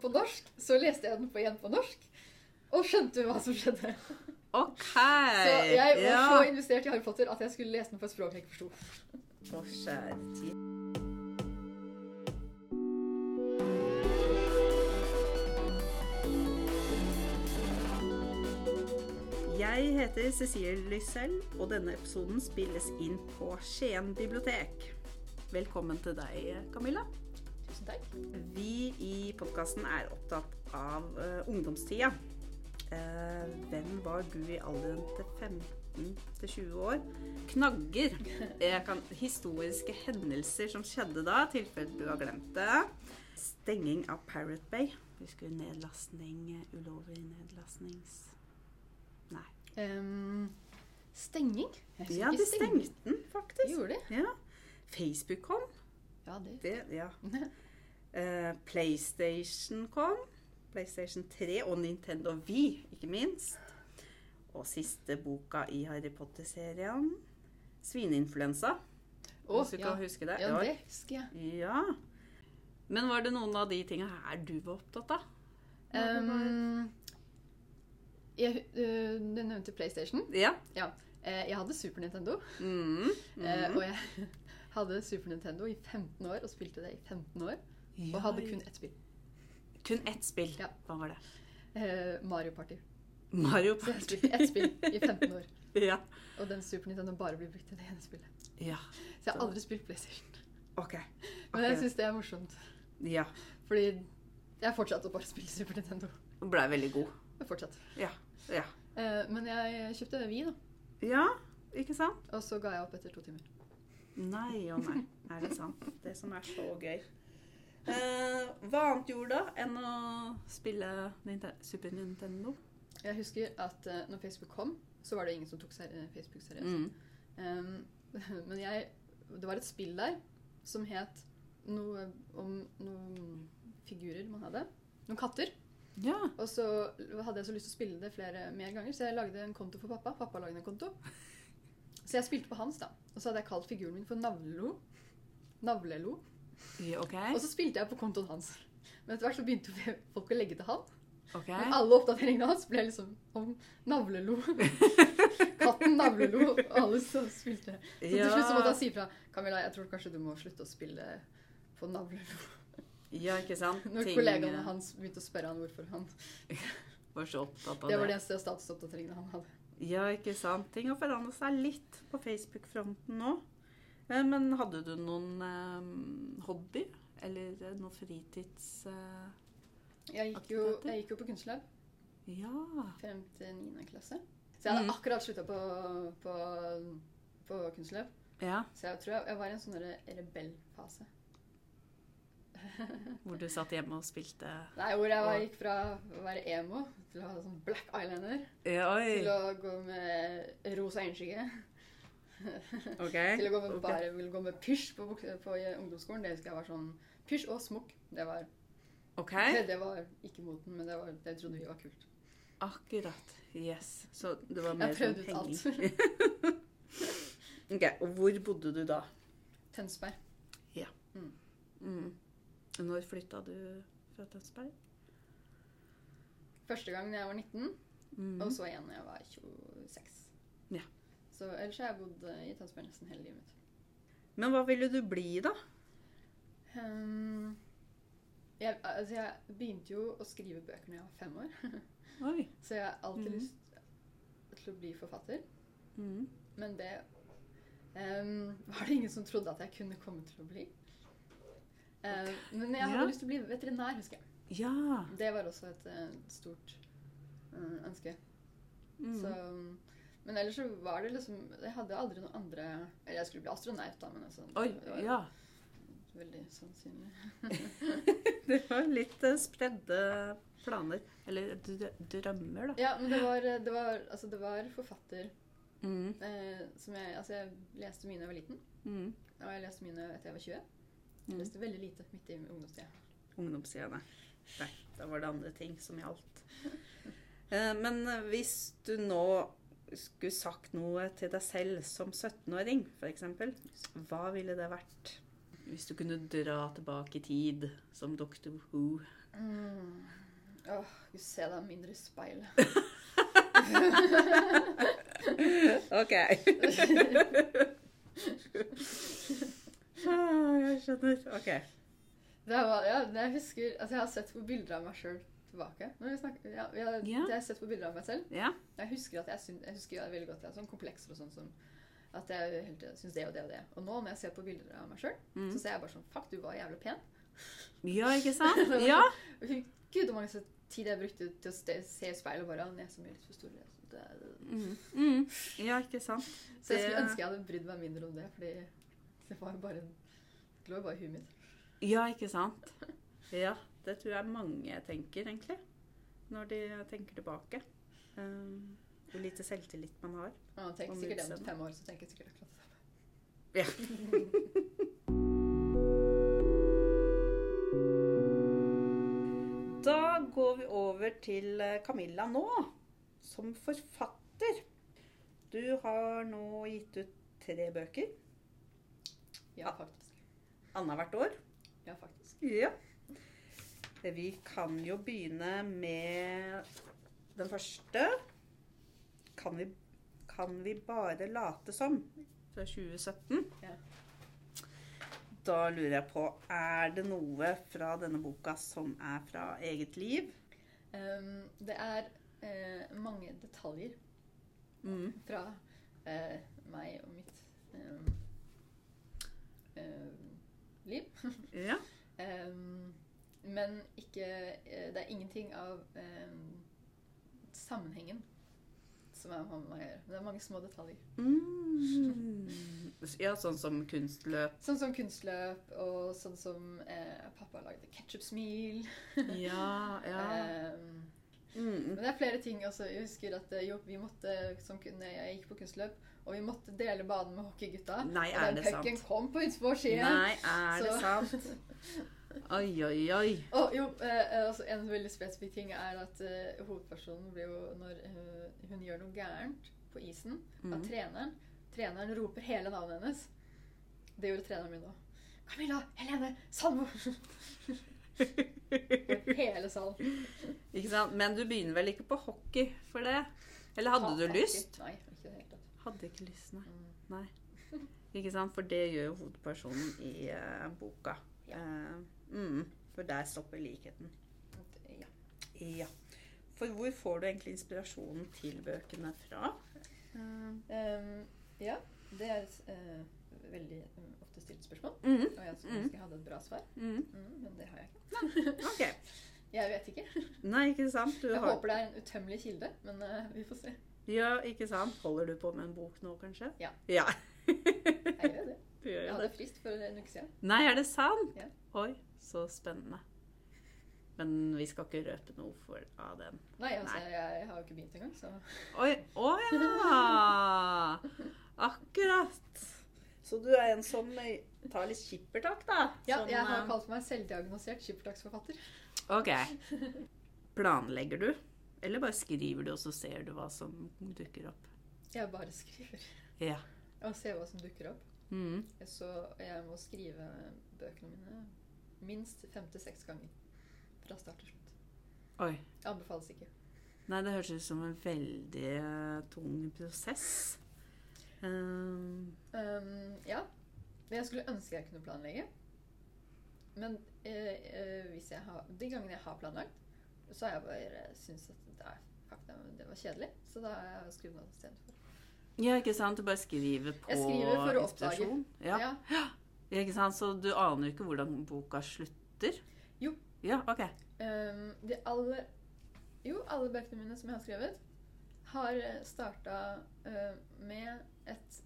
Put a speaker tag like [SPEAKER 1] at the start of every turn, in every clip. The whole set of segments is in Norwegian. [SPEAKER 1] på norsk, så leste jeg den på igjen på norsk, og skjønte hva som skjedde.
[SPEAKER 2] OK.
[SPEAKER 1] Så jeg var
[SPEAKER 2] ja.
[SPEAKER 1] så investert i Harry Potter at jeg skulle lese den på et språk jeg ikke forsto.
[SPEAKER 2] Å, kjære tid. Jeg heter Cecilie Lysell, og denne episoden spilles inn på Skien bibliotek. Velkommen til deg, Camilla.
[SPEAKER 1] Tusen takk.
[SPEAKER 2] Vi i podkasten er opptatt av eh, ungdomstida. Eh, hvem var du i alderen til 15 til 20 år? Knagger. Jeg kan, historiske hendelser som skjedde da, i tilfelle du har glemt det. Stenging av Parrot Bay. Husker du nedlastning? eh, Ulovlig nedlastnings... Nei.
[SPEAKER 1] Ehm, stenging? Jeg husker
[SPEAKER 2] Ja,
[SPEAKER 1] ikke
[SPEAKER 2] de
[SPEAKER 1] stenging.
[SPEAKER 2] stengte den faktisk.
[SPEAKER 1] Gjorde de?
[SPEAKER 2] Ja. Facebook kom.
[SPEAKER 1] Ja, det.
[SPEAKER 2] Det, ja. Eh, PlayStation kom. PlayStation 3 og Nintendo Wii, ikke minst. Og siste boka i Harry Potter-serien. Svineinfluensa.
[SPEAKER 1] Å,
[SPEAKER 2] hvis du
[SPEAKER 1] ja.
[SPEAKER 2] kan huske det.
[SPEAKER 1] ja,
[SPEAKER 2] Ja.
[SPEAKER 1] det husker jeg.
[SPEAKER 2] ja. Men var det noen av de tinga her du var opptatt av? Når du var-
[SPEAKER 1] Ehm, jeg øh, du nevnte PlayStation.
[SPEAKER 2] ja.
[SPEAKER 1] Eh, jeg hadde Super Nintendo.
[SPEAKER 2] Mm. Mm.
[SPEAKER 1] eh, og jeg hadde Super Nintendo i 15 år og spilte det i 15 år. Og hadde kun ett spill.
[SPEAKER 2] kun ett spill.
[SPEAKER 1] Ja.
[SPEAKER 2] Hva var det?
[SPEAKER 1] Eh, Mario Party.
[SPEAKER 2] Mario
[SPEAKER 1] Så jeg
[SPEAKER 2] Party.
[SPEAKER 1] spilte ett spill i 15 år.
[SPEAKER 2] ja.
[SPEAKER 1] Og den Super Nintendo bare blir brukt til det ene spillet.
[SPEAKER 2] ja.
[SPEAKER 1] Så jeg har aldri spilt PlayStation.
[SPEAKER 2] OK.
[SPEAKER 1] Men jeg
[SPEAKER 2] Ok.
[SPEAKER 1] syns det er morsomt.
[SPEAKER 2] Ja.
[SPEAKER 1] Fordi jeg fortsatte å bare spille Super Nintendo.
[SPEAKER 2] Blei veldig god.
[SPEAKER 1] Jeg fortsatte.
[SPEAKER 2] Ja. Ja.
[SPEAKER 1] Eh, men jeg kjøpte Wii, da.
[SPEAKER 2] Ja, ikke sant?
[SPEAKER 1] Og så ga jeg opp etter to timer.
[SPEAKER 2] Nei og nei. Er det sant? Det som er så gøy. Eh, hva annet gjorde da enn å spille Ninte Super Nintendo?
[SPEAKER 1] Jeg husker at eh, når Facebook kom, så var det ingen som tok seri Facebook seriøst.
[SPEAKER 2] Mm.
[SPEAKER 1] Ehm, men jeg Det var et spill der som het noe om noen figurer man hadde. Noen katter.
[SPEAKER 2] Ja.
[SPEAKER 1] Og så hadde jeg så lyst til å spille det flere mer ganger, så jeg lagde en konto for pappa. Pappa lagde en konto. Så jeg spilte på hans, da. Og så hadde jeg kalt figuren min for Navlelo. Navlelo.
[SPEAKER 2] Ja, OK.
[SPEAKER 1] Og så spilte jeg på kontoen hans. Men etter hvert så begynte folk å legge til han.
[SPEAKER 2] ok.
[SPEAKER 1] Men alle oppdateringene hans ble liksom om navlelo. Katten Navlelo og alle som spilte. Så til slutt så måtte han si fra. Camilla, jeg tror kanskje du må slutte å spille på Navlelo.
[SPEAKER 2] ja, ikke sant?
[SPEAKER 1] Når
[SPEAKER 2] Ting,
[SPEAKER 1] kollegaene
[SPEAKER 2] eh,
[SPEAKER 1] hans begynte å spørre han hvorfor han
[SPEAKER 2] var så opptatt av
[SPEAKER 1] Det
[SPEAKER 2] det.
[SPEAKER 1] var det eneste statusoppdateringene han hadde.
[SPEAKER 2] Ja, ikke sant. Ting har forandret seg litt på Facebook-fronten nå. Eh, Men hadde du noen eh, hobby? Eller eh, noe fritids... eh,
[SPEAKER 1] Jeg gikk jo, jeg gikk jo på kunstløp
[SPEAKER 2] ja.
[SPEAKER 1] frem til 9. klasse. Så jeg hadde
[SPEAKER 2] Mhm.
[SPEAKER 1] akkurat slutta på, på, på kunstløp.
[SPEAKER 2] Ja,
[SPEAKER 1] Så jeg tror jeg, jeg var i en sånn derre rebellfase.
[SPEAKER 2] hvor du satt hjemme og spilte...
[SPEAKER 1] Nei, hvor jeg var,
[SPEAKER 2] Og-
[SPEAKER 1] gikk fra å være emo til å ha sånn black eyeliner.
[SPEAKER 2] Ja,
[SPEAKER 1] Til
[SPEAKER 2] oi.
[SPEAKER 1] å gå med rosa øyenskygge.
[SPEAKER 2] Ok.
[SPEAKER 1] Til å gå med,
[SPEAKER 2] Ok.
[SPEAKER 1] bare, ville gå med pysj på, buks- på ungdomsskolen. Det husker jeg var sånn Pysj og smokk. Det var,
[SPEAKER 2] Ok.
[SPEAKER 1] det, det var ikke moten, men det, var, det trodde vi var kult.
[SPEAKER 2] Akkurat. Yes. Så det var mer
[SPEAKER 1] Jeg
[SPEAKER 2] sånn
[SPEAKER 1] prøvde ut
[SPEAKER 2] henging.
[SPEAKER 1] alt.
[SPEAKER 2] Ok, Og hvor bodde du da?
[SPEAKER 1] Tønsberg.
[SPEAKER 2] Mm. Når flytta du fra Tønsberg?
[SPEAKER 1] Første gang da jeg var 19,
[SPEAKER 2] Mm.
[SPEAKER 1] og så igjen da jeg var 26.
[SPEAKER 2] Ja.
[SPEAKER 1] Så ellers har jeg bodd eh, i Tønsberg nesten hele livet mitt.
[SPEAKER 2] Men hva ville du bli, da?
[SPEAKER 1] Ehm, jeg, altså jeg begynte jo å skrive bøker når jeg var fem år,
[SPEAKER 2] Oi.
[SPEAKER 1] så jeg har alltid
[SPEAKER 2] Mhm.
[SPEAKER 1] lyst til å bli forfatter.
[SPEAKER 2] Mm.
[SPEAKER 1] Men det ehm, var det ingen som trodde at jeg kunne komme til å bli. Ehm, men jeg hadde
[SPEAKER 2] Ja. Ah.
[SPEAKER 1] lyst til å bli veterinær, husker jeg.
[SPEAKER 2] Ja.
[SPEAKER 1] Det var også et eh, stort eh, ønske.
[SPEAKER 2] Mm.
[SPEAKER 1] Så, men ellers så var det liksom Jeg hadde aldri noen andre Eller jeg skulle bli astronaut, da, men altså,
[SPEAKER 2] Oi.
[SPEAKER 1] det var
[SPEAKER 2] Ja.
[SPEAKER 1] veldig sannsynlig.
[SPEAKER 2] Det var litt eh, spredde planer. Eller dr- drømmer, da.
[SPEAKER 1] Ja, men det var, det var, altså, det var forfatter
[SPEAKER 2] Mm.
[SPEAKER 1] eh, som jeg Altså, jeg leste mye da jeg var liten.
[SPEAKER 2] Mm.
[SPEAKER 1] Og jeg leste mye etter jeg var 20. Jeg
[SPEAKER 2] Mm.
[SPEAKER 1] leste veldig lite midt i ungdomstida.
[SPEAKER 2] Ungdomstida, nei. nei. Da var det andre ting som gjaldt. Eh, Men hvis du nå skulle sagt noe til deg selv som 17-åring, f.eks., hva ville det vært? Hvis du kunne dra tilbake i tid som Dr. Who.
[SPEAKER 1] Mm. Åh, Gud, se deg mindre i speilet.
[SPEAKER 2] OK. Ah, jeg skjønner. OK.
[SPEAKER 1] Det var, ja, det jeg husker altså Jeg har sett på bilder av meg sjøl tilbake. Når vi snakker, ja, vi har-
[SPEAKER 2] Ja.
[SPEAKER 1] Jeg har sett på bilder av meg selv.
[SPEAKER 2] Ja.
[SPEAKER 1] Jeg husker at jeg, syn, jeg husker jeg veldig godt jeg er sånn komplekser og sånn som At jeg hele tiden syns det og det og det. Og nå når jeg ser på bilder av meg sjøl,
[SPEAKER 2] Mm.
[SPEAKER 1] så ser jeg bare sånn Fuck, du var jævlig pen.
[SPEAKER 2] ja, ikke sant? Ja.
[SPEAKER 1] Jeg fikk, sånn, Gud, hvor mange tid jeg brukte til å ste- se i speilet og bare «Å, Nesa mi er litt for stor. nesa- det- det-
[SPEAKER 2] Mm. Mm. Ja, ikke sant?
[SPEAKER 1] Så jeg skulle
[SPEAKER 2] Det-
[SPEAKER 1] ønske jeg hadde brydd meg mindre om det, fordi det var jo bare en Det lå jo bare i huet mitt.
[SPEAKER 2] Ja, ikke sant? Ja, det tror jeg mange tenker, egentlig. Når de tenker tilbake. Um, hvor lite selvtillit man
[SPEAKER 1] Og
[SPEAKER 2] har.
[SPEAKER 1] man tenker
[SPEAKER 2] Om
[SPEAKER 1] sikkert det om
[SPEAKER 2] utseendet.
[SPEAKER 1] fem år, så tenker jeg sikkert akkurat det samme.
[SPEAKER 2] Ja. Da går vi over til eh, Camilla nå, som forfatter. Du har nå gitt ut tre bøker
[SPEAKER 1] Ja,
[SPEAKER 2] Ah.
[SPEAKER 1] faktisk.
[SPEAKER 2] annethvert år.
[SPEAKER 1] Ja, faktisk.
[SPEAKER 2] Ja. Eh, Vi kan jo begynne med den første. Kan vi, kan vi bare late som? Fra 2017.
[SPEAKER 1] Ja.
[SPEAKER 2] Da lurer jeg på, er det noe fra denne boka som er fra eget liv?
[SPEAKER 1] Ehm, det er eh, mange detaljer
[SPEAKER 2] Mm.
[SPEAKER 1] fra eh, meg og mitt ehm, ehm, liv.
[SPEAKER 2] Ja.
[SPEAKER 1] Ehm, men ikke eh, Det er ingenting av ehm, sammenhengen som er med meg å gjøre. Men Det er mange små detaljer.
[SPEAKER 2] Mm. ja, sånn som kunstløp.
[SPEAKER 1] Sånn som kunstløp, og sånn som eh, pappa lagde ketsjupsmil.
[SPEAKER 2] Ja,
[SPEAKER 1] Ehm,
[SPEAKER 2] Mm.
[SPEAKER 1] Men det er flere ting også. Jeg husker at eh, jo, vi måtte, som kun- når jeg gikk på kunstløp, og vi måtte dele banen med hockeygutta.
[SPEAKER 2] Nei,
[SPEAKER 1] Og
[SPEAKER 2] er
[SPEAKER 1] den
[SPEAKER 2] det sant?
[SPEAKER 1] pucken kom på utenfor siden.
[SPEAKER 2] Nei, er det
[SPEAKER 1] Så-
[SPEAKER 2] sant? Oi, oi, oi.
[SPEAKER 1] Og jo, eh, eh, altså, en veldig spesifikk ting er at eh, hovedpersonen blir jo Når eh, hun gjør noe gærent på isen av
[SPEAKER 2] Mm.
[SPEAKER 1] treneren Treneren roper hele navnet hennes. Det gjorde treneren min òg. Camilla! Helene! Salmo! hele salen.
[SPEAKER 2] Ikke sant? Men du begynner vel ikke på hockey for det? Eller hadde
[SPEAKER 1] Ta
[SPEAKER 2] du
[SPEAKER 1] tak i-
[SPEAKER 2] lyst?
[SPEAKER 1] Nei. ikke i det hele tatt.
[SPEAKER 2] Hadde ikke lyst, nei.
[SPEAKER 1] Mm.
[SPEAKER 2] nei. Ikke sant? For det gjør jo hovedpersonen i eh, boka.
[SPEAKER 1] Ja.
[SPEAKER 2] Eh, mm, for der stopper likheten.
[SPEAKER 1] Ja.
[SPEAKER 2] Ja. For hvor får du egentlig inspirasjonen til bøkene fra? Eh,
[SPEAKER 1] Ehm, ja, det er et eh, veldig eh, ofte stilt spørsmål.
[SPEAKER 2] Mm,
[SPEAKER 1] Og jeg skulle
[SPEAKER 2] Mm.
[SPEAKER 1] ønske jeg hadde et bra svar,
[SPEAKER 2] mm.
[SPEAKER 1] mm, men det har jeg ikke.
[SPEAKER 2] Ok.
[SPEAKER 1] Jeg vet ikke.
[SPEAKER 2] Nei, ikke sant? Du
[SPEAKER 1] Jeg
[SPEAKER 2] har...
[SPEAKER 1] håper det er en utømmelig kilde, men eh, vi får se.
[SPEAKER 2] Ja, ikke sant? Holder du på med en bok nå, kanskje?
[SPEAKER 1] Ja.
[SPEAKER 2] Ja.
[SPEAKER 1] Jeg gjør det.
[SPEAKER 2] Du gjør
[SPEAKER 1] Jeg
[SPEAKER 2] jo det.
[SPEAKER 1] hadde frist for en uke siden.
[SPEAKER 2] Nei, er det sant?
[SPEAKER 1] Ja.
[SPEAKER 2] Oi, så spennende. Men vi skal ikke røpe noe for, av den.
[SPEAKER 1] Nei, altså, jeg har jo ikke begynt engang, så
[SPEAKER 2] Oi, å ja! Akkurat. Så du er en som tar litt skippertak, da?
[SPEAKER 1] Ja,
[SPEAKER 2] Som,
[SPEAKER 1] jeg har
[SPEAKER 2] eh,
[SPEAKER 1] kalt meg selvdiagnosert skippertaksforfatter.
[SPEAKER 2] Ok. Planlegger du? Eller bare skriver du, og så ser du hva som dukker opp?
[SPEAKER 1] Jeg bare skriver.
[SPEAKER 2] Ja.
[SPEAKER 1] Og ser hva som dukker opp.
[SPEAKER 2] Mm.
[SPEAKER 1] Så jeg må skrive bøkene mine minst fem til seks ganger. Fra start til slutt.
[SPEAKER 2] Oi.
[SPEAKER 1] Anbefales ikke.
[SPEAKER 2] Nei, det høres ut som en veldig eh, tung prosess. Um,
[SPEAKER 1] Ehm, ja. Jeg skulle ønske jeg kunne planlegge. Men eh, eh, hvis jeg har, de gangene jeg har planlagt, så har jeg bare syntes at det, er, fuck, det var- det var kjedelig. Så da har jeg skrevet noe istedenfor.
[SPEAKER 2] Ja, ikke sant? Du bare skriver på
[SPEAKER 1] Jeg skriver for å oppdage.
[SPEAKER 2] inspirasjon. Ja.
[SPEAKER 1] Ja.
[SPEAKER 2] Ja, ikke sant? Så du aner jo ikke hvordan boka slutter?
[SPEAKER 1] Jo.
[SPEAKER 2] Ja, ok.
[SPEAKER 1] ehm, de aller Jo, alle bøkene mine som jeg har skrevet, har starta med et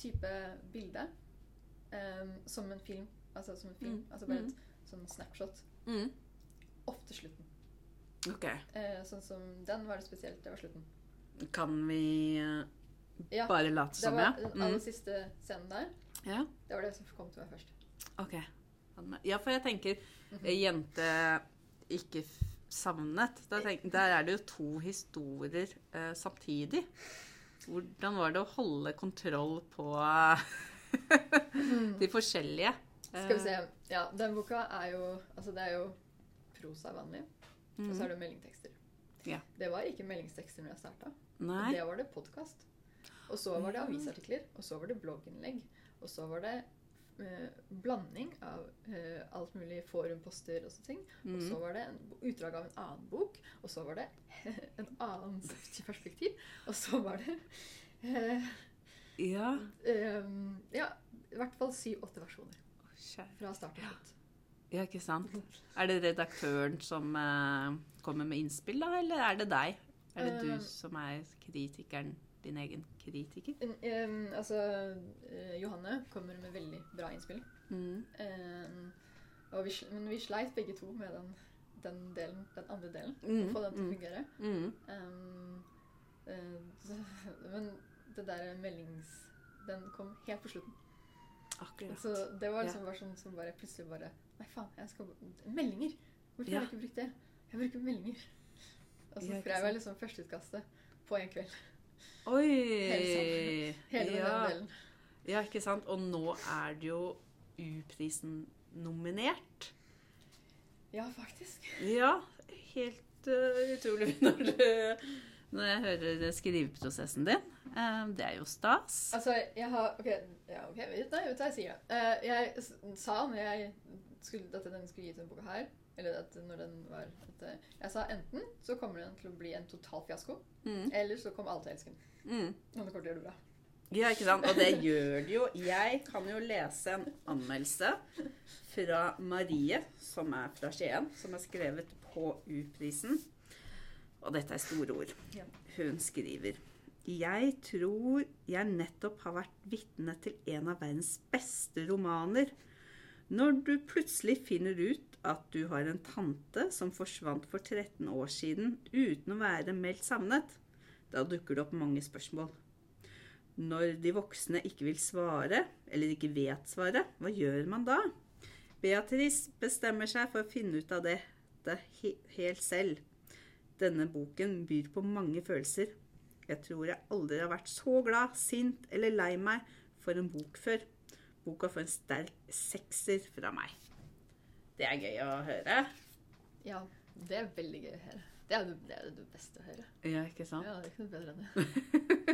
[SPEAKER 1] type bilde ehm, som en film. Altså som en film.
[SPEAKER 2] Mm.
[SPEAKER 1] Altså bare
[SPEAKER 2] Mm.
[SPEAKER 1] et sånn snapshot.
[SPEAKER 2] Mm.
[SPEAKER 1] Ofte slutten.
[SPEAKER 2] Ok.
[SPEAKER 1] Eh, sånn som den var det spesielt. Det var slutten.
[SPEAKER 2] Kan vi eh,
[SPEAKER 1] Ja,
[SPEAKER 2] bare late
[SPEAKER 1] Det
[SPEAKER 2] som, ja?
[SPEAKER 1] var den aller
[SPEAKER 2] Mm.
[SPEAKER 1] siste scenen der.
[SPEAKER 2] Ja,
[SPEAKER 1] Det var det som kom til meg først.
[SPEAKER 2] ok. Ja, for jeg tenker
[SPEAKER 1] Mhm.
[SPEAKER 2] eh, jente ikke f- savnet. Da tenk, der er det jo to historier eh, samtidig. Hvordan var det å holde kontroll på
[SPEAKER 1] Mhm.
[SPEAKER 2] de forskjellige?
[SPEAKER 1] Skal vi se. Ja, den boka er jo Altså, det er jo prosa vanlig. Og så
[SPEAKER 2] Mm.
[SPEAKER 1] er det meldingtekster.
[SPEAKER 2] Ja.
[SPEAKER 1] Det var ikke meldingstekster når jeg starta.
[SPEAKER 2] Nei.
[SPEAKER 1] Det var det podkast. Og så var det
[SPEAKER 2] Ja.
[SPEAKER 1] avisartikler, og så var det blogginnlegg. Og så var det eh, blanding av eh, alt mulig forumposter og sånne ting. Og så
[SPEAKER 2] Mm.
[SPEAKER 1] var det en utdrag av en annen bok, og så var det en annen perspektiv. Og så var det eh,
[SPEAKER 2] Ja.
[SPEAKER 1] eh, Ja, i hvert fall syv-åtte versjoner
[SPEAKER 2] Å, kjære.
[SPEAKER 1] fra start til slutt.
[SPEAKER 2] Ja, ikke sant. Er det redaktøren som eh, kommer med innspill, da, eller er det deg? Er det
[SPEAKER 1] Eh,
[SPEAKER 2] du som er kritikeren, din egen kritiker?
[SPEAKER 1] En- em, altså, eh, Johanne kommer med veldig bra innspill.
[SPEAKER 2] Mm.
[SPEAKER 1] Em, Ehm, og vi, sl- men vi sleit begge to med den, den delen, den andre delen.
[SPEAKER 2] Mm,
[SPEAKER 1] Få den til å
[SPEAKER 2] mm.
[SPEAKER 1] fungere.
[SPEAKER 2] Mm.
[SPEAKER 1] Em, eh, så- men det der meldings... Den kom helt på slutten.
[SPEAKER 2] Akkurat.
[SPEAKER 1] Så det var liksom bare sånn som bare plutselig bare Nei, faen, jeg skal Meldinger! Hvorfor
[SPEAKER 2] Ja.
[SPEAKER 1] har jeg ikke brukt det? Jeg bruker meldinger. Og så
[SPEAKER 2] Ja, ikke
[SPEAKER 1] skrev jeg liksom
[SPEAKER 2] sant.
[SPEAKER 1] førsteutkastet på en kveld.
[SPEAKER 2] Oi!
[SPEAKER 1] Hele den
[SPEAKER 2] ja.
[SPEAKER 1] delen.
[SPEAKER 2] ja, ikke sant. Og nå er det jo U-prisen nominert.
[SPEAKER 1] Ja, faktisk.
[SPEAKER 2] Ja, helt eh, utrolig når, du, når jeg hører skriveprosessen din. Eh, det er jo stas.
[SPEAKER 1] Altså, jeg har Ok, ja, ok, vet, nei, vet du hva jeg sier? det. Eh, jeg s- sa når jeg skulle, at den skulle gis denne boka her, eller at når den var at, eh, Jeg sa enten så kommer den til å bli en total fiasko,
[SPEAKER 2] Mm,
[SPEAKER 1] eller så kommer alle til å elske den.
[SPEAKER 2] mm.
[SPEAKER 1] Men det kommer til å gjøre det bra.
[SPEAKER 2] Ja, ikke sant? Og det gjør det jo. Jeg kan jo lese en anmeldelse fra Marie, som er fra Skien, som er skrevet på U-prisen. Og dette er store ord.
[SPEAKER 1] Ja.
[SPEAKER 2] Hun skriver Jeg tror jeg nettopp har vært vitne til en av verdens beste romaner. Når du plutselig finner ut at du har en tante som forsvant for 13 år siden uten å være meldt savnet, da dukker det opp mange spørsmål. Når de voksne ikke vil svare, eller ikke vet svaret, hva gjør man da? Beatrice bestemmer seg for å finne ut av dette he helt selv. Denne boken byr på mange følelser. Jeg tror jeg aldri har vært så glad, sint eller lei meg for en bok før. Boka får en sterk sekser fra meg. Det er gøy å høre.
[SPEAKER 1] Ja, det er veldig gøy å høre. Det er det, det, er det beste å høre.
[SPEAKER 2] Ja, ikke sant?
[SPEAKER 1] Ja, det er ikke noe bedre enn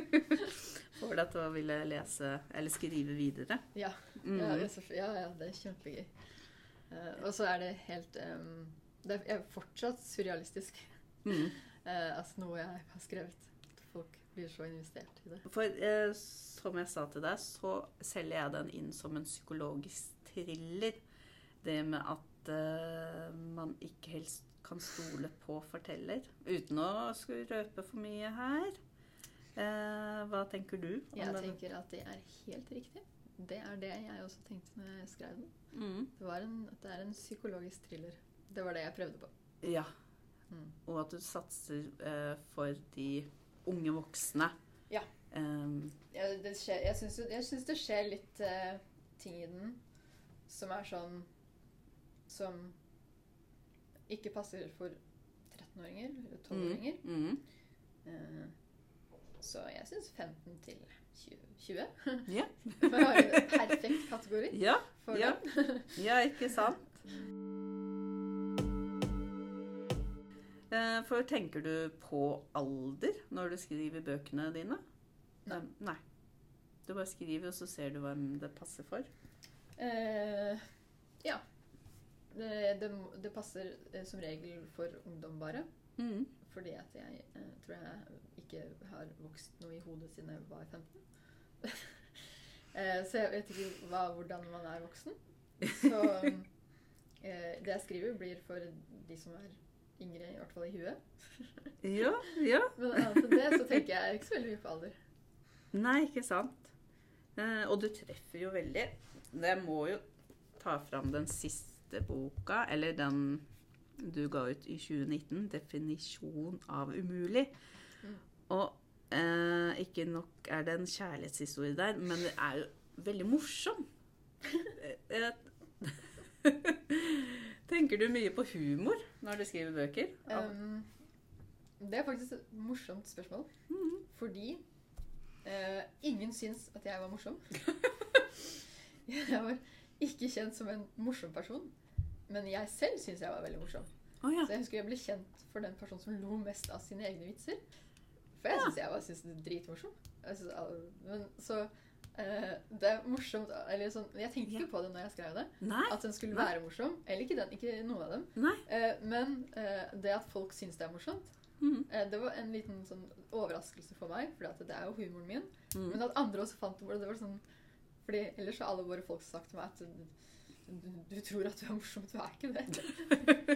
[SPEAKER 1] det.
[SPEAKER 2] Får deg til å ville lese eller skrive videre.
[SPEAKER 1] Ja,
[SPEAKER 2] Mm.
[SPEAKER 1] ja, det er så, ja, ja det er kjempegøy. Eh, og så er det helt eh, Det er er fortsatt surrealistisk.
[SPEAKER 2] Mm.
[SPEAKER 1] eh, altså noe jeg har skrevet. Folk blir så investert i det.
[SPEAKER 2] For eh, som jeg sa til deg, så selger jeg den inn som en psykologisk thriller. Det med at eh, man ikke helst kan stole på forteller. Uten å skulle røpe for mye her. Eh, hva tenker du? om
[SPEAKER 1] Jeg
[SPEAKER 2] den?
[SPEAKER 1] tenker at det er helt riktig. Det er det jeg også tenkte når jeg skrev den.
[SPEAKER 2] Mm,
[SPEAKER 1] Det, var en, at det er en psykologisk thriller. Det var det jeg prøvde på.
[SPEAKER 2] ja.
[SPEAKER 1] Mm.
[SPEAKER 2] Og at du satser eh, for de unge voksne. Eh, mm.
[SPEAKER 1] Ja.
[SPEAKER 2] Em,
[SPEAKER 1] Jeg, det skjer, jeg, syns, jo- jeg syns det skjer litt eh, ting i den som er sånn Som ikke passer for 13-åringer eller 12-åringer.
[SPEAKER 2] mm,
[SPEAKER 1] Eh, så jeg syns 15 til 20, 20
[SPEAKER 2] Ja.
[SPEAKER 1] var en perfekt kategori
[SPEAKER 2] ja.
[SPEAKER 1] for
[SPEAKER 2] Ja.
[SPEAKER 1] dem.
[SPEAKER 2] Ja, ikke sant? Eh, For tenker du på alder når du skriver bøkene dine?
[SPEAKER 1] Nei.
[SPEAKER 2] Eh, Nei. Du bare skriver, og så ser du hvem det passer for.
[SPEAKER 1] Eh, ja. Det, det, må- det passer eh, som regel for ungdom bare. Fordi at jeg eh, tror jeg ikke har vokst noe i hodet siden jeg var 15. eh, så jeg vet ikke hva, hvordan man er voksen. Så eh, det jeg skriver, blir for de som er yngre, i hvert fall i huet.
[SPEAKER 2] Ja, ja.
[SPEAKER 1] Men annet enn det så tenker jeg ikke så veldig mye på alder.
[SPEAKER 2] Nei, ikke sant. Eh, Og du treffer jo veldig. Jeg må jo ta fram den siste boka, eller den du ga ut i 2019, 'Definisjon av umulig'.
[SPEAKER 1] Mm.
[SPEAKER 2] Og eh, ikke nok er det en kjærlighetshistorie der, men det er jo veldig morsom. Eh, Tenker du mye på humor når du skriver bøker?
[SPEAKER 1] Um, det er faktisk et morsomt spørsmål.
[SPEAKER 2] Mhm.
[SPEAKER 1] Fordi eh, ingen syns at jeg var morsom. jeg var ikke kjent som en morsom person, men jeg selv syns jeg var veldig morsom.
[SPEAKER 2] Å ja.
[SPEAKER 1] Så jeg husker jeg ble kjent for den personen som lo mest av sine egne vitser. For jeg syns jeg bare synes det er dritmorsom. Jeg synes, alle- men så eh, Det er morsomt eller sånn, Jeg tenkte ikke på det når jeg skrev det,
[SPEAKER 2] Nei.
[SPEAKER 1] at den skulle
[SPEAKER 2] Nei.
[SPEAKER 1] være morsom. Eller ikke den, ikke noen av dem.
[SPEAKER 2] Nei.
[SPEAKER 1] Eh, men eh, det at folk syns det er morsomt,
[SPEAKER 2] Mm.
[SPEAKER 1] eh, det var en liten sånn overraskelse for meg, for det er jo humoren min.
[SPEAKER 2] Mm.
[SPEAKER 1] Men at andre også fant det hvor det var sånn Fordi ellers har alle våre folk sagt til meg at du, du tror at du er morsom, du er ikke det.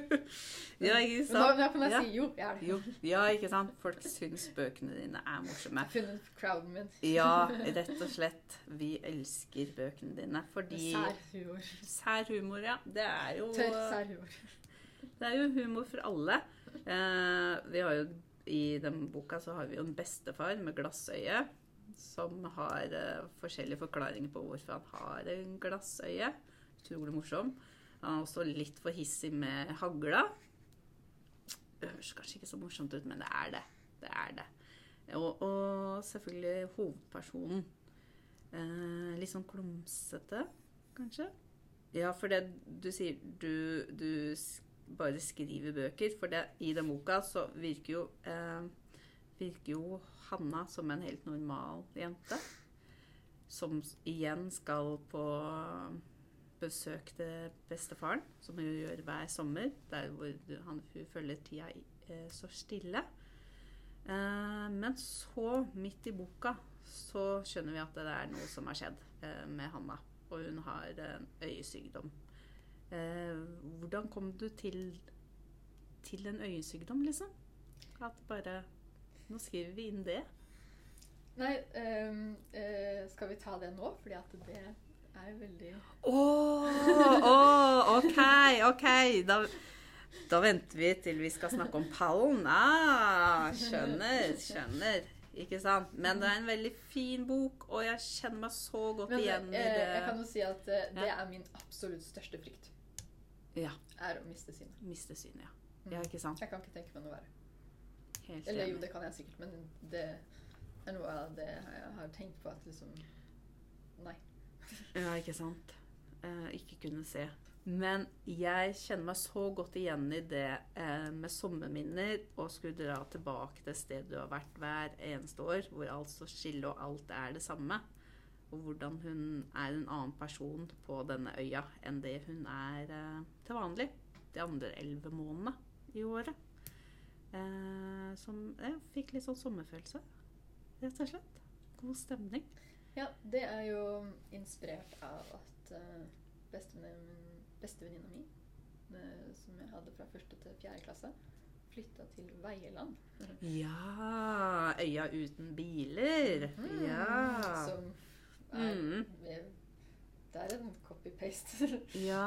[SPEAKER 2] Ja,
[SPEAKER 1] Men
[SPEAKER 2] ikke
[SPEAKER 1] nå,
[SPEAKER 2] sant?
[SPEAKER 1] nå kan jeg
[SPEAKER 2] Ja.
[SPEAKER 1] si jo, jeg er det.
[SPEAKER 2] Jo, ja, ikke sant? Folk syns bøkene dine er morsomme.
[SPEAKER 1] Jeg har funnet crowden min.
[SPEAKER 2] Ja, rett og slett. Vi elsker bøkene dine
[SPEAKER 1] Med
[SPEAKER 2] fordi
[SPEAKER 1] Sær humor.
[SPEAKER 2] Sær humor, ja. Det er jo
[SPEAKER 1] Tørr sær humor.
[SPEAKER 2] Det er jo humor for alle. Eh, vi har jo, I den boka så har vi jo en bestefar med glassøye som har eh, forskjellige forklaringer på hvorfor han har en glassøye. Utrolig morsom. Han er også litt for hissig med hagla. Det høres kanskje ikke så morsomt ut, men det er det. Det er det. Og, og selvfølgelig hovedpersonen. Eh, litt sånn klumsete, kanskje. Ja, for det du sier Du, du s- bare skriver bøker, for det, i den boka så virker jo eh, Virker jo Hanna som en helt normal jente. Som s- igjen skal på besøk til bestefaren, som hun gjør hver sommer. Der hvor du- han, hun følger tida i- eh, så stille. Eh, men så, midt i boka, så skjønner vi at det er noe som har skjedd eh, med Hanna. Og hun har en øyesykdom. Eh, hvordan kom du til, til en øyesykdom, liksom? At bare Nå skriver vi inn det.
[SPEAKER 1] Nei, ehm, eh, skal vi ta det nå? Fordi at det er veldig
[SPEAKER 2] Å! OK, OK. Da, da venter vi til vi skal snakke om pallen. Ah, skjønner, skjønner. Ikke sant? Men det er en veldig fin bok, og jeg kjenner meg så godt
[SPEAKER 1] Men eh,
[SPEAKER 2] igjen i
[SPEAKER 1] jeg kan
[SPEAKER 2] det.
[SPEAKER 1] jo si at eh, det er min absolutt største frykt.
[SPEAKER 2] Ja.
[SPEAKER 1] Er å miste synet.
[SPEAKER 2] Miste synet, ja. Ja, ikke sant?
[SPEAKER 1] Jeg kan ikke tenke meg noe verre.
[SPEAKER 2] Helt
[SPEAKER 1] Eller jo,
[SPEAKER 2] enig.
[SPEAKER 1] det kan jeg sikkert, men det er noe av det jeg har tenkt på at liksom Nei.
[SPEAKER 2] Ja, ikke sant. Eh, ikke kunne se. Men jeg kjenner meg så godt igjen i det eh, med sommerminner og skulle dra tilbake til et sted du har vært hver eneste år, hvor alt står stille og alt er det samme. Og hvordan hun er en annen person på denne øya enn det hun er eh, til vanlig de andre elleve månedene i året. Eh, som jeg fikk litt sånn sommerfølelse, rett og slett. God stemning.
[SPEAKER 1] Ja, det er jo inspirert av at eh, bestevenninnen min- bestevenninna mi, eh, som jeg hadde fra første til fjerde klasse, flytta til Veieland.
[SPEAKER 2] Ja Øya uten biler.
[SPEAKER 1] Mhm.
[SPEAKER 2] Ja.
[SPEAKER 1] Mm, Som er
[SPEAKER 2] Mm.
[SPEAKER 1] Det er en copy-paste.
[SPEAKER 2] ja.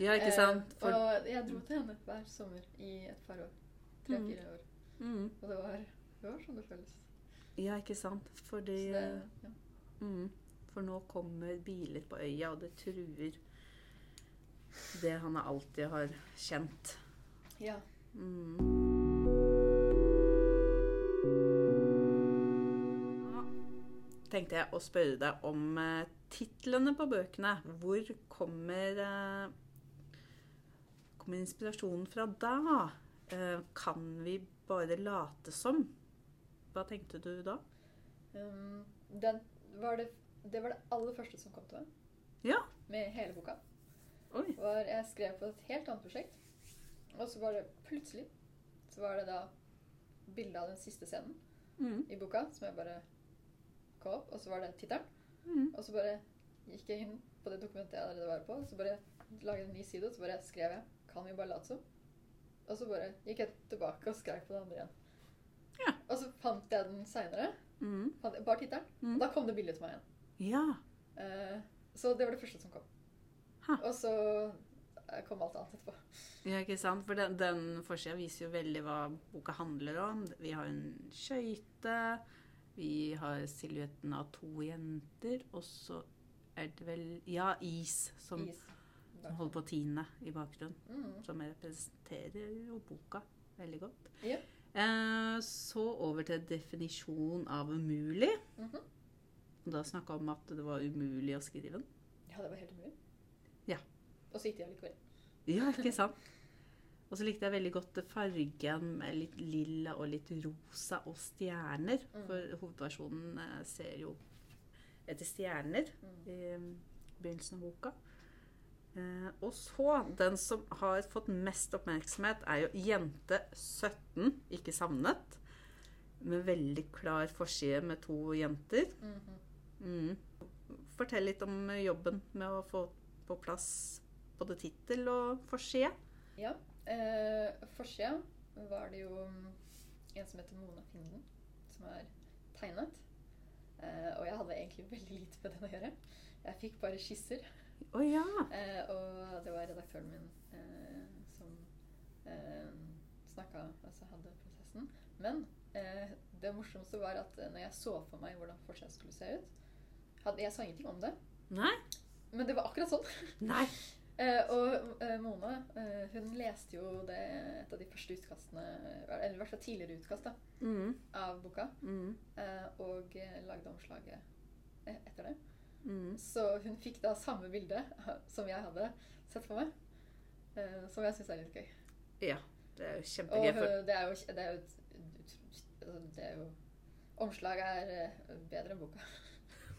[SPEAKER 2] Ja, ikke sant?
[SPEAKER 1] Eh,
[SPEAKER 2] For,
[SPEAKER 1] Og jeg dro til henne hver sommer i et par år.
[SPEAKER 2] Mm.
[SPEAKER 1] Tre-fire år.
[SPEAKER 2] mm,
[SPEAKER 1] Og det var, det var sånn det føles.
[SPEAKER 2] ja, ikke sant? Fordi eh,
[SPEAKER 1] Så det, ja.
[SPEAKER 2] mm, For nå kommer biler på øya, og det truer det han alltid har kjent.
[SPEAKER 1] ja.
[SPEAKER 2] Mm. Nå tenkte jeg å spørre deg om eh, titlene på bøkene. Hvor kommer, eh, kommer inspirasjonen fra da? Eh, Kan vi bare late som? Hva tenkte du da?
[SPEAKER 1] Um, den var det, det var det aller første som kom til meg.
[SPEAKER 2] Ja.
[SPEAKER 1] Med hele boka.
[SPEAKER 2] Oi.
[SPEAKER 1] Var jeg skrev på et helt annet prosjekt. Og så var det plutselig så var det da bilde av den siste scenen
[SPEAKER 2] Mm.
[SPEAKER 1] i boka som jeg bare kom opp, og så var det tittelen.
[SPEAKER 2] Mm.
[SPEAKER 1] Og så bare gikk jeg inn på det dokumentet jeg allerede var på, så bare laget jeg en ny side, og så bare skrev jeg 'Kan vi bare late som?' Og så bare gikk jeg tilbake og skrev på det andre igjen.
[SPEAKER 2] Ja.
[SPEAKER 1] Og så fant jeg den seinere.
[SPEAKER 2] Mm.
[SPEAKER 1] Bare tittelen.
[SPEAKER 2] Mm.
[SPEAKER 1] Da kom det bildet til meg igjen.
[SPEAKER 2] Ja.
[SPEAKER 1] Eh, Så det var det første som kom.
[SPEAKER 2] Ha.
[SPEAKER 1] Og så eh, kom alt annet etterpå.
[SPEAKER 2] Ja, ikke sant? For den, den forsida viser jo veldig hva boka handler om. Vi har en skøyte, vi har silhuetten av to jenter, og så er det vel Ja, is, som
[SPEAKER 1] Is.
[SPEAKER 2] som holder på å tine i bakgrunnen.
[SPEAKER 1] Mm.
[SPEAKER 2] Som representerer jo boka veldig godt.
[SPEAKER 1] Ja.
[SPEAKER 2] Eh, så over til definisjon av umulig.
[SPEAKER 1] Mhm.
[SPEAKER 2] Og da snakka om at det var umulig å skrive den.
[SPEAKER 1] Ja, det var helt umulig.
[SPEAKER 2] Ja.
[SPEAKER 1] Og så gikk det allikevel.
[SPEAKER 2] Ja, ikke sant? Og så likte jeg veldig godt fargen med litt lilla og litt rosa og stjerner.
[SPEAKER 1] Mm.
[SPEAKER 2] For hovedversjonen eh, ser jo etter stjerner i eh, begynnelsen av boka. Eh, og så, den som har fått mest oppmerksomhet, er jo jente 17, ikke savnet. Med veldig klar forside med to jenter.
[SPEAKER 1] Mhm.
[SPEAKER 2] Mm. Fortell litt om jobben med å få på plass både tittel og forside.
[SPEAKER 1] Ja. Eh, Forsida var det jo mm, en som heter Mona Finden, som er tegnet. Eh, og jeg hadde egentlig veldig lite med den å gjøre. Jeg fikk bare skisser.
[SPEAKER 2] Å ja!
[SPEAKER 1] Eh, og det var redaktøren min eh, som eh, snakka Altså hadde prosessen. Men eh, det morsomste var at eh, når jeg så for meg hvordan forsida skulle se ut hadde, Jeg sa ingenting om det,
[SPEAKER 2] Nei.
[SPEAKER 1] men det var akkurat sånn.
[SPEAKER 2] Nei.
[SPEAKER 1] Eh, og eh, Mona eh, hun leste jo det, et av de første utkastene, eller i hvert fall tidligere utkast da,
[SPEAKER 2] Mm,
[SPEAKER 1] av boka,
[SPEAKER 2] mm,
[SPEAKER 1] eh, og eh, lagde omslaget eh, etter det.
[SPEAKER 2] mm.
[SPEAKER 1] Så hun fikk da samme bilde som jeg hadde sett for meg. eh, Som jeg syns er litt gøy.
[SPEAKER 2] Ja. Det er jo
[SPEAKER 1] Og
[SPEAKER 2] kjempegøy. For,
[SPEAKER 1] eh, det er jo, det er jo et ut- altså, det er jo, Omslaget er eh, bedre enn boka.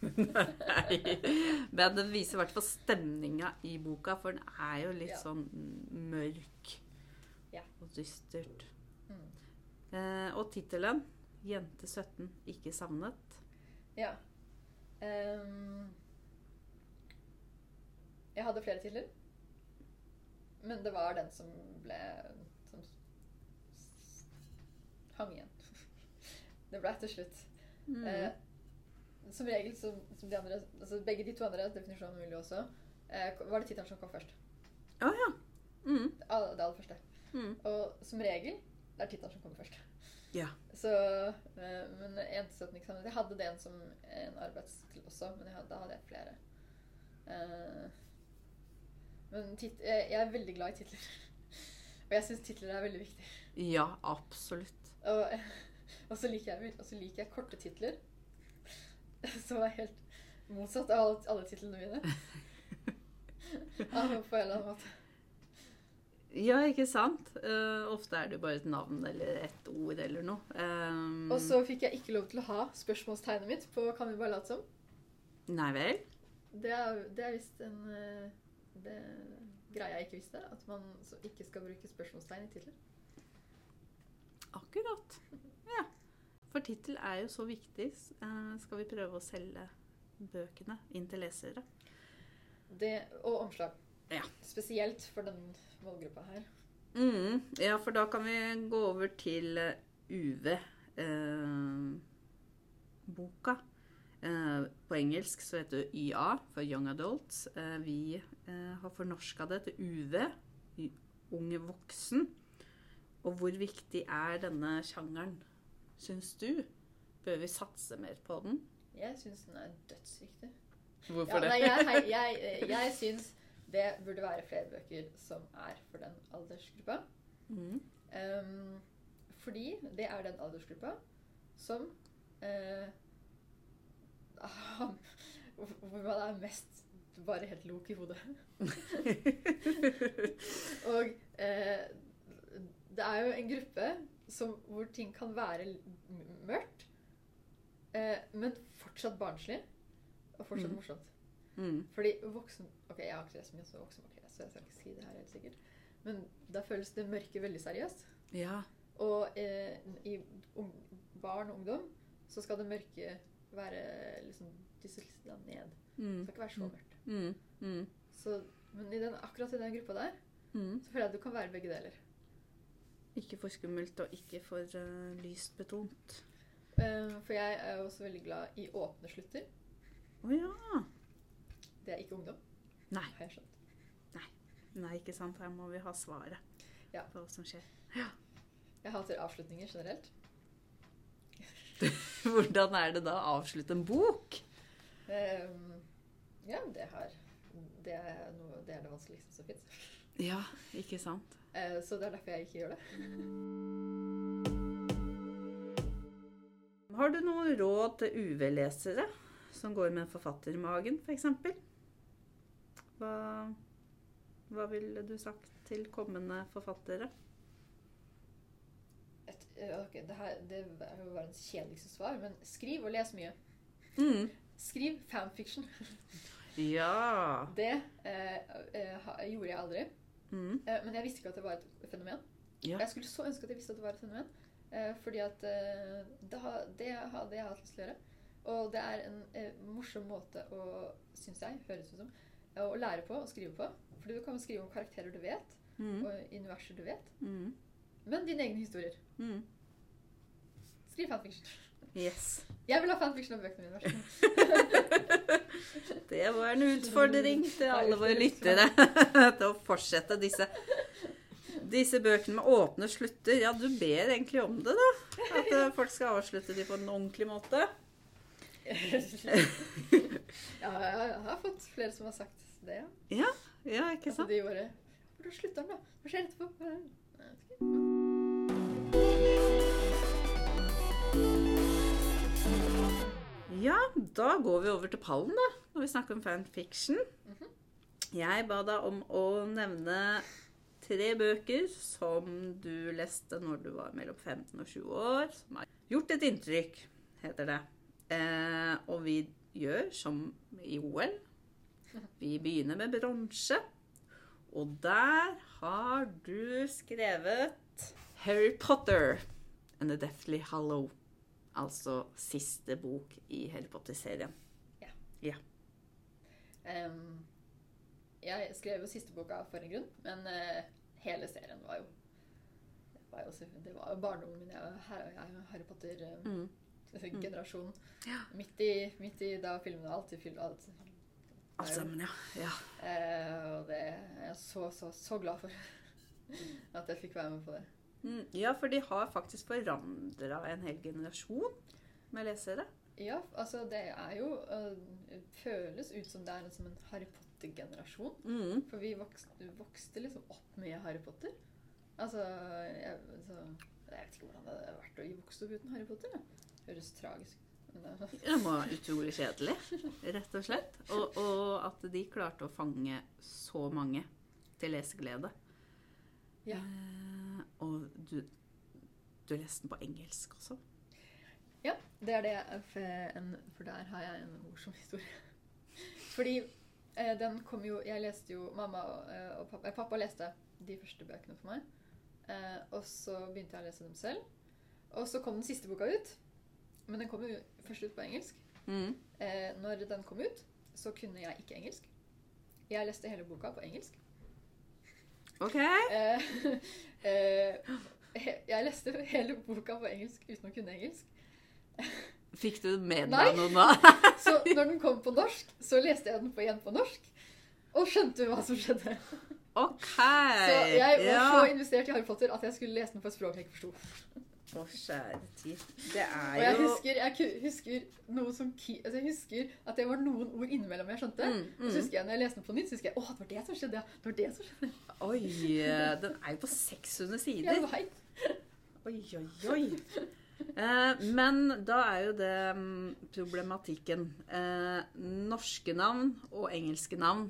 [SPEAKER 2] nei. Men den viser i hvert fall stemninga i boka, for den er jo litt
[SPEAKER 1] Ja.
[SPEAKER 2] sånn mm, mørk
[SPEAKER 1] Ja.
[SPEAKER 2] og dystert.
[SPEAKER 1] Mm.
[SPEAKER 2] Eh, og tittelen 'Jente 17 ikke savnet'.
[SPEAKER 1] Ja. Ehm, jeg hadde flere titler. Men det var den som ble Som s- s- hang igjen. Det ble til slutt.
[SPEAKER 2] Mm.
[SPEAKER 1] Eh, som regel, som, som de andre altså Begge de to andre definisjonene mulig også, eh, var det tittelen som kom først.
[SPEAKER 2] Å ja. Mm,
[SPEAKER 1] Det aller det aller første.
[SPEAKER 2] mm.
[SPEAKER 1] Og som regel det er tittelen som kommer først.
[SPEAKER 2] Ja.
[SPEAKER 1] Så, eh, men ensetningssamlet Jeg hadde det en som en arbeidstittel også, men jeg hadde, da hadde jeg flere. Eh, men tit, jeg, jeg er veldig glad i titler. Og jeg syns titler er veldig viktig.
[SPEAKER 2] Ja, absolutt.
[SPEAKER 1] Og, og så liker jeg, og så liker jeg korte titler. Som er helt motsatt av alle, alle titlene mine. Av, på en eller annen måte.
[SPEAKER 2] Ja, ikke sant? Eh, ofte er det jo bare et navn eller et ord eller noe. Eh,
[SPEAKER 1] Og så fikk jeg ikke lov til å ha spørsmålstegnet mitt på Kan vi bare late som?
[SPEAKER 2] Eh, Nei vel?
[SPEAKER 1] Det er, det er visst en eh, det, greie jeg ikke visste. At man så ikke skal bruke spørsmålstegn i titler.
[SPEAKER 2] Akkurat. Ja. For tittel er jo så viktig. s- eh, skal vi prøve å selge bøkene inn til lesere?
[SPEAKER 1] Det- Og omslag.
[SPEAKER 2] Ja.
[SPEAKER 1] Spesielt for den målgruppa her.
[SPEAKER 2] Mm, ja, for da kan vi gå over til eh, UV. Eh, boka. Eh, på engelsk så heter det YA for Young Adults. Eh, vi eh, har fornorska det til UV, y- Ung voksen. Og hvor viktig er denne sjangeren, syns du? Bør vi satse mer på den?
[SPEAKER 1] Jeg syns den er dødsviktig. Ja,
[SPEAKER 2] Hvorfor
[SPEAKER 1] nei, jeg jeg, jeg, jeg syns det burde være flere bøker som er for den aldersgruppa.
[SPEAKER 2] Mm.
[SPEAKER 1] Ehm, fordi det er den aldersgruppa som eh, Hvor man er mest bare helt lok i hodet. Og eh, det er jo en gruppe som, hvor ting kan være l- m- mørkt, eh, men fortsatt barnslig og fortsatt
[SPEAKER 2] Mhm.
[SPEAKER 1] morsomt.
[SPEAKER 2] mm.
[SPEAKER 1] Fordi voksen Ok, jeg har ikke lest så mye som voksen, ok, så jeg skal ikke si det her helt sikkert. Men da føles det mørke veldig seriøst.
[SPEAKER 2] Ja.
[SPEAKER 1] Og eh, i ung, barn og ungdom så skal det mørke være liksom dysselsta ned. Det
[SPEAKER 2] Mm.
[SPEAKER 1] skal ikke være så mørkt.
[SPEAKER 2] Mm. Mm.
[SPEAKER 1] Så, men i den, akkurat i den gruppa der
[SPEAKER 2] Mm.
[SPEAKER 1] så føler jeg at du kan være begge deler.
[SPEAKER 2] Ikke for skummelt og ikke for eh, lyst betont.
[SPEAKER 1] Eh, For jeg er jo også veldig glad i åpne slutter.
[SPEAKER 2] Å ja.
[SPEAKER 1] Det er ikke ungdom,
[SPEAKER 2] Nei.
[SPEAKER 1] har jeg skjønt.
[SPEAKER 2] Nei, ikke sant. Her må vi ha svaret
[SPEAKER 1] Ja.
[SPEAKER 2] på hva som skjer.
[SPEAKER 1] Jeg hater avslutninger generelt.
[SPEAKER 2] Hvordan er det da å avslutte en bok?
[SPEAKER 1] Ehm, ja, det har det er, noe, det er det vanskeligste som fins.
[SPEAKER 2] Ja, ikke sant.
[SPEAKER 1] så det er derfor jeg ikke gjør det.
[SPEAKER 2] Har du noen råd til UV-lesere som går med en forfattermagen, f.eks.? Hva, Hva ville du sagt til kommende forfattere?
[SPEAKER 1] Et, eh, ok, det, her, det er jo verdens kjedeligste svar, men skriv og les mye.
[SPEAKER 2] Mm.
[SPEAKER 1] Skriv fanfiction.
[SPEAKER 2] Ja.
[SPEAKER 1] Det eh, eh, ha, gjorde jeg aldri.
[SPEAKER 2] Mm.
[SPEAKER 1] Eh, men jeg visste ikke at det var et fenomen.
[SPEAKER 2] Ja.
[SPEAKER 1] Jeg skulle så ønske at jeg visste at det var et fenomen. Eh, fordi at eh, det, ha, det hadde jeg hatt lyst til å gjøre. Og det er en eh, morsom måte å, syns jeg, høres ut som, eh, å lære på og skrive på. Fordi du kan skrive om karakterer du vet,
[SPEAKER 2] Mm.
[SPEAKER 1] og universer du vet. Men dine egne historier.
[SPEAKER 2] Mm.
[SPEAKER 1] Skriv fanfiction.
[SPEAKER 2] Yes.
[SPEAKER 1] Jeg vil ha fanfiction om bøkene mine. vær så god.
[SPEAKER 2] Det var en utfordring til alle våre lyttere til å fortsette disse, disse bøkene med åpne slutter. Ja, du ber egentlig om det, da. At eh, folk skal avslutte de på en ordentlig måte.
[SPEAKER 1] ja, jeg har fått flere som har sagt det. ja.
[SPEAKER 2] Ja, ikke
[SPEAKER 1] At
[SPEAKER 2] sant?
[SPEAKER 1] Altså, de bare Hvordan slutter den, da? Hva skjer etterpå? Hva er det?» Nei, jeg vet ikke.
[SPEAKER 2] Ja, da går vi over til pallen, da, når vi snakker om fanfiction. Jeg ba deg om å nevne tre bøker som du leste når du var mellom 15 og 20 år, som har gjort et inntrykk, heter det. Eh, og vi gjør som i OL. Vi begynner med bronse. Og der har du skrevet Harry Potter and the Deathly Hallow. Altså siste bok i Harry Potter-serien.
[SPEAKER 1] Ehm, jeg skrev jo siste boka for en grunn, men eh, hele serien var jo Det var jo, selvfølgelig- det var jo barndommen min. Jeg var her- jeg er jo Harry
[SPEAKER 2] Mm.
[SPEAKER 1] Potter-generasjonen.
[SPEAKER 2] Ja.
[SPEAKER 1] Midt, i, midt i da filmene alltid fylte alt.
[SPEAKER 2] Alt sammen, Altså, ja. ja.
[SPEAKER 1] Eh, og det er jeg så, så, så glad for at jeg fikk være med på det.
[SPEAKER 2] Mm, ja, for de har faktisk forandra en hel generasjon med lesere.
[SPEAKER 1] Ja, altså det er jo eh, Føles ut som det er som en Harry Potter-generasjon.
[SPEAKER 2] Mm.
[SPEAKER 1] For vi vokste, vokste liksom opp med Harry Potter. Altså jeg, så, jeg vet ikke hvordan det hadde vært å vokse opp uten Harry Potter. Da. Høres tragisk ut. men det- sånn.
[SPEAKER 2] Det var utrolig kjedelig, rett og slett. Og, og at de klarte å fange så mange til leseglede.
[SPEAKER 1] Ja.
[SPEAKER 2] Eh, og du, du leste den på engelsk også.
[SPEAKER 1] Det er det jeg for en- For der har jeg en morsom historie. Fordi eh, den kom jo Jeg leste jo Mamma og, eh, og pappa, eh, pappa leste de første bøkene for meg. Eh, og så begynte jeg å lese dem selv. Og så kom den siste boka ut. Men den kom jo først ut på engelsk.
[SPEAKER 2] Mm.
[SPEAKER 1] Eh, når den kom ut, så kunne jeg ikke engelsk. Jeg leste hele boka på engelsk.
[SPEAKER 2] OK.
[SPEAKER 1] Eh, eh, he, jeg leste hele boka på engelsk uten å kunne engelsk.
[SPEAKER 2] Fikk du med
[SPEAKER 1] Nei.
[SPEAKER 2] deg noe da?
[SPEAKER 1] Så når den kom på norsk, så leste jeg den på igjen på norsk. Og skjønte hva som skjedde.
[SPEAKER 2] OK.
[SPEAKER 1] Så jeg var
[SPEAKER 2] Ja.
[SPEAKER 1] så investert i Harry Potter at jeg skulle lese den på et språk jeg ikke forsto.
[SPEAKER 2] Å, kjære tid. Det
[SPEAKER 1] Og
[SPEAKER 2] er
[SPEAKER 1] jeg
[SPEAKER 2] jo
[SPEAKER 1] husker, jeg ku- husker noe som ki, altså jeg husker at det var noen ord innimellom jeg skjønte.
[SPEAKER 2] Mm,
[SPEAKER 1] Og så
[SPEAKER 2] mm.
[SPEAKER 1] husker jeg når jeg leste den på nytt, så husker jeg, å, det var det som skjedde. ja. Det var det som skjedde.
[SPEAKER 2] Oi, den er jo på 600 sider.
[SPEAKER 1] Jeg vet.
[SPEAKER 2] Oi, oi, oi. Eh, men da er jo det mm, problematikken. Eh, norske navn og engelske navn.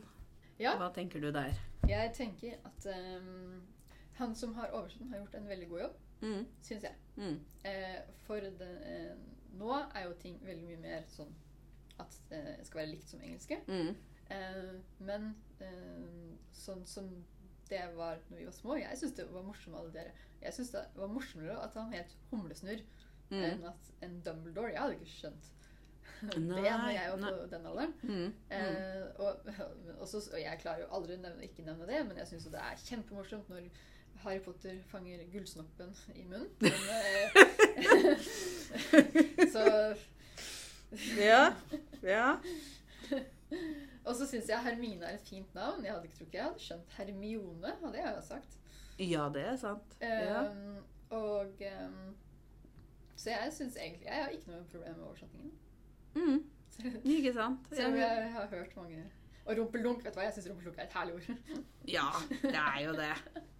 [SPEAKER 1] Ja.
[SPEAKER 2] Hva tenker du der?
[SPEAKER 1] Jeg tenker at ehm, han som har oversett den, har gjort en veldig god jobb,
[SPEAKER 2] Mm,
[SPEAKER 1] syns jeg.
[SPEAKER 2] mm,
[SPEAKER 1] Eh, for det, eh, nå er jo ting veldig mye mer sånn at eh, det skal være likt som engelske.
[SPEAKER 2] mm.
[SPEAKER 1] Eh, men eh, sånn som det var når vi var små Jeg syns det var morsomt med alle dere. Jeg syns det var morsommere at han het Humlesnurr
[SPEAKER 2] Mm.
[SPEAKER 1] enn at en Dumbledore. Jeg hadde ikke skjønt det når
[SPEAKER 2] Nei,
[SPEAKER 1] jeg var
[SPEAKER 2] nei.
[SPEAKER 1] på den alderen.
[SPEAKER 2] Mm, mm.
[SPEAKER 1] Eh, og, og, så, og jeg klarer jo aldri å nevne, ikke nevne det, men jeg syns jo det er kjempemorsomt når Harry Potter fanger gullsnoppen i munnen. Men, eh, så,
[SPEAKER 2] Ja. ja.
[SPEAKER 1] og så syns jeg Hermine er et fint navn. Jeg hadde ikke tror ikke jeg hadde skjønt Hermione, hadde jeg jo sagt.
[SPEAKER 2] Ja, det er sant.
[SPEAKER 1] Eh,
[SPEAKER 2] Ja.
[SPEAKER 1] Og eh, Så jeg syns egentlig Jeg har ikke noe problem med oversetningen.
[SPEAKER 2] Mm,
[SPEAKER 1] Selv
[SPEAKER 2] ikke sant.
[SPEAKER 1] selv om jeg har hørt mange Og rumpeldunk, vet du hva? Jeg syns rumpeldunk er et herlig ord.
[SPEAKER 2] Ja, det er jo det.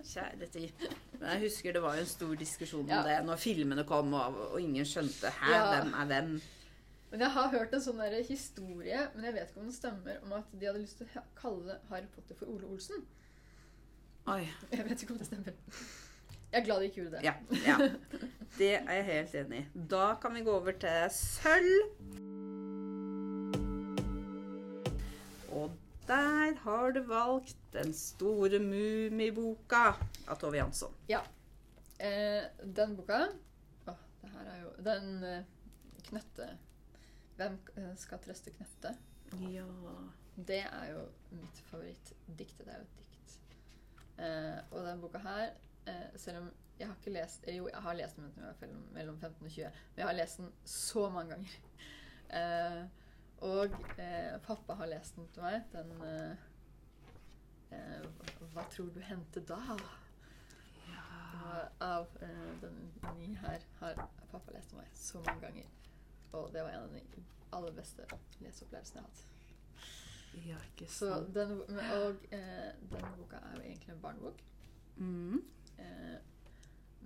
[SPEAKER 2] Kjære tid. Men jeg husker det var jo en stor diskusjon om
[SPEAKER 1] Ja.
[SPEAKER 2] det når filmene kom, og, og ingen skjønte hæ,
[SPEAKER 1] Ja.
[SPEAKER 2] hvem er hvem.
[SPEAKER 1] Men jeg har hørt en sånn der historie, men jeg vet ikke om den stemmer, om at de hadde lyst til å ha- kalle Harry Potter for Ole Olsen.
[SPEAKER 2] Oi.
[SPEAKER 1] Jeg vet ikke om det stemmer. Jeg er glad de ikke gjorde det.
[SPEAKER 2] Ja, ja. Det er jeg helt enig i. Da kan vi gå over til sølv. Og der har du valgt Den store mummiboka av Tove Jansson.
[SPEAKER 1] Eh, den boka Åh, det her er jo Den eh, Knøtte Hvem eh, skal trøste Knøtte?
[SPEAKER 2] Ja.
[SPEAKER 1] Det er jo mitt favorittdikt. Det er jo et dikt. Eh, og den boka her, eh, selv om jeg har ikke lest eh, Jo, jeg har lest den men jeg var mellom, mellom 15 og 20, men jeg har lest den så mange ganger. Eh, og eh, pappa har lest den til meg. Den eh, eh, Hva tror du hendte da? Og av eh, den ni her har pappa lest til meg så mange ganger. Og det var en av de aller beste leseopplevelsene jeg har hatt.
[SPEAKER 2] Ja, ikke
[SPEAKER 1] Så den, men- og eh, denne boka er jo egentlig en barnebok.
[SPEAKER 2] Mm.
[SPEAKER 1] Eh,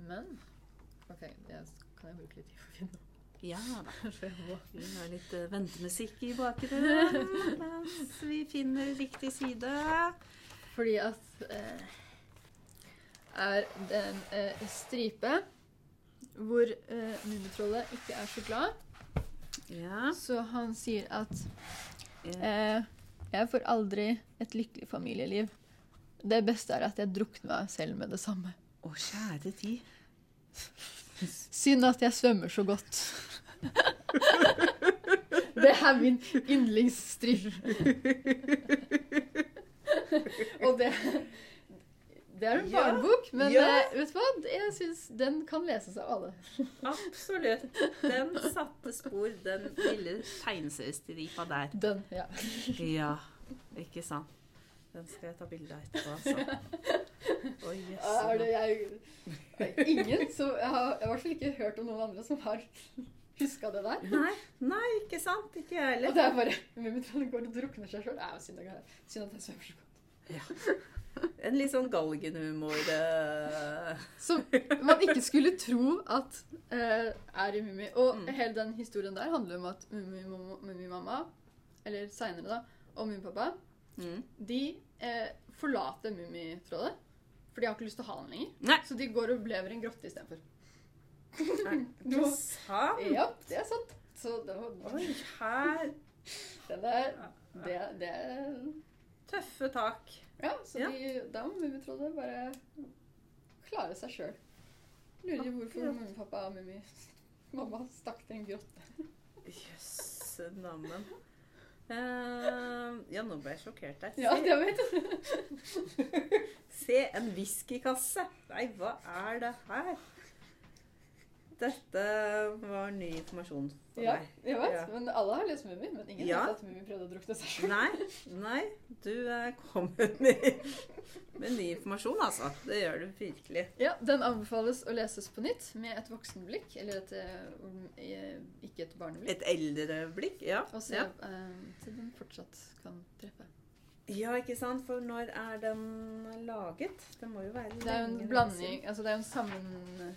[SPEAKER 1] men OK, det kan jeg bruke litt tid på å finne
[SPEAKER 2] Ja da.
[SPEAKER 1] opp. for jeg må.
[SPEAKER 2] Vi har litt eh, ventemusikk i bakgrunnen mens vi finner riktig side.
[SPEAKER 1] Fordi at eh, er det en eh, stripe hvor eh, Mummitrollet ikke er så glad,
[SPEAKER 2] Ja.
[SPEAKER 1] så han sier at
[SPEAKER 2] eh,
[SPEAKER 1] eh, Jeg får aldri et lykkelig familieliv. Det beste er at jeg drukner meg selv med det samme.
[SPEAKER 2] Å, kjære tid.
[SPEAKER 1] Synd at jeg svømmer så godt. Det er min yndlingsstrip. Og det Det er en
[SPEAKER 2] Ja,
[SPEAKER 1] barnebok, men
[SPEAKER 2] ja.
[SPEAKER 1] eh, vet du hva? Jeg syns den kan leses av alle.
[SPEAKER 2] Absolutt. Den satte spor, den lille tegneseriestripa der.
[SPEAKER 1] Den, ja.
[SPEAKER 2] Ja, ikke sant. Den skal jeg ta bilde av etterpå, altså. Å,
[SPEAKER 1] Ah, Er det
[SPEAKER 2] jøsse.
[SPEAKER 1] jeg er Ingen som Jeg har jeg har i hvert fall ikke hørt om noen andre som har huska det der.
[SPEAKER 2] Nei, nei, ikke sant. Ikke
[SPEAKER 1] Og
[SPEAKER 2] jeg heller.
[SPEAKER 1] det er bare Mummitrollet går og drukner seg sjøl. Det er jo synd at jeg- synd at jeg svømmer så godt.
[SPEAKER 2] En litt sånn galgenhumor. eh.
[SPEAKER 1] Som man ikke skulle tro at eh, er i Mummi. Og
[SPEAKER 2] Mm.
[SPEAKER 1] hele den historien der handler om at Mummimamma, Mummimamma, eller seinere, da, og Mummipappa,
[SPEAKER 2] Mm.
[SPEAKER 1] de eh, forlater Mummitrollet. For de har ikke lyst til å ha han lenger.
[SPEAKER 2] Nei.
[SPEAKER 1] Så de går og lever i en grotte istedenfor.
[SPEAKER 2] Er det sant?
[SPEAKER 1] Ja, det er sant. Så det, var-
[SPEAKER 2] Oi, her.
[SPEAKER 1] den er det, det er-
[SPEAKER 2] Tøffe tak.
[SPEAKER 1] Ja, så
[SPEAKER 2] Ja.
[SPEAKER 1] De, da må Mummitrollet bare klare seg sjøl. Lurer på hvorfor
[SPEAKER 2] Akkurat.
[SPEAKER 1] Mummipappa og Mummimamma stakk til en grotte.
[SPEAKER 2] Jøsse nammen. Eh, ja, nå ble jeg sjokkert der.
[SPEAKER 1] Ja, det vet jeg.
[SPEAKER 2] Se, en whiskykasse! Nei, hva er det her? Dette var ny informasjon for
[SPEAKER 1] Ja,
[SPEAKER 2] meg.
[SPEAKER 1] jeg vet,
[SPEAKER 2] Ja.
[SPEAKER 1] men alle har lest Mummi, men ingen
[SPEAKER 2] Ja.
[SPEAKER 1] vet at Mummi prøvde å drukne seg selv.
[SPEAKER 2] Nei, nei, du eh, kom med ny, med ny informasjon, altså. Det gjør du virkelig.
[SPEAKER 1] Ja, Den anbefales å leses på nytt med et voksenblikk, eller et, eh, eh, ikke et barneblikk.
[SPEAKER 2] Et eldre blikk, ja.
[SPEAKER 1] Og se
[SPEAKER 2] ja.
[SPEAKER 1] eh, til den fortsatt kan treffe.
[SPEAKER 2] Ja, ikke sant? For når er den laget? Det må jo være
[SPEAKER 1] Det er jo
[SPEAKER 2] lenge
[SPEAKER 1] en
[SPEAKER 2] siden.
[SPEAKER 1] blanding altså Det er jo en sammen...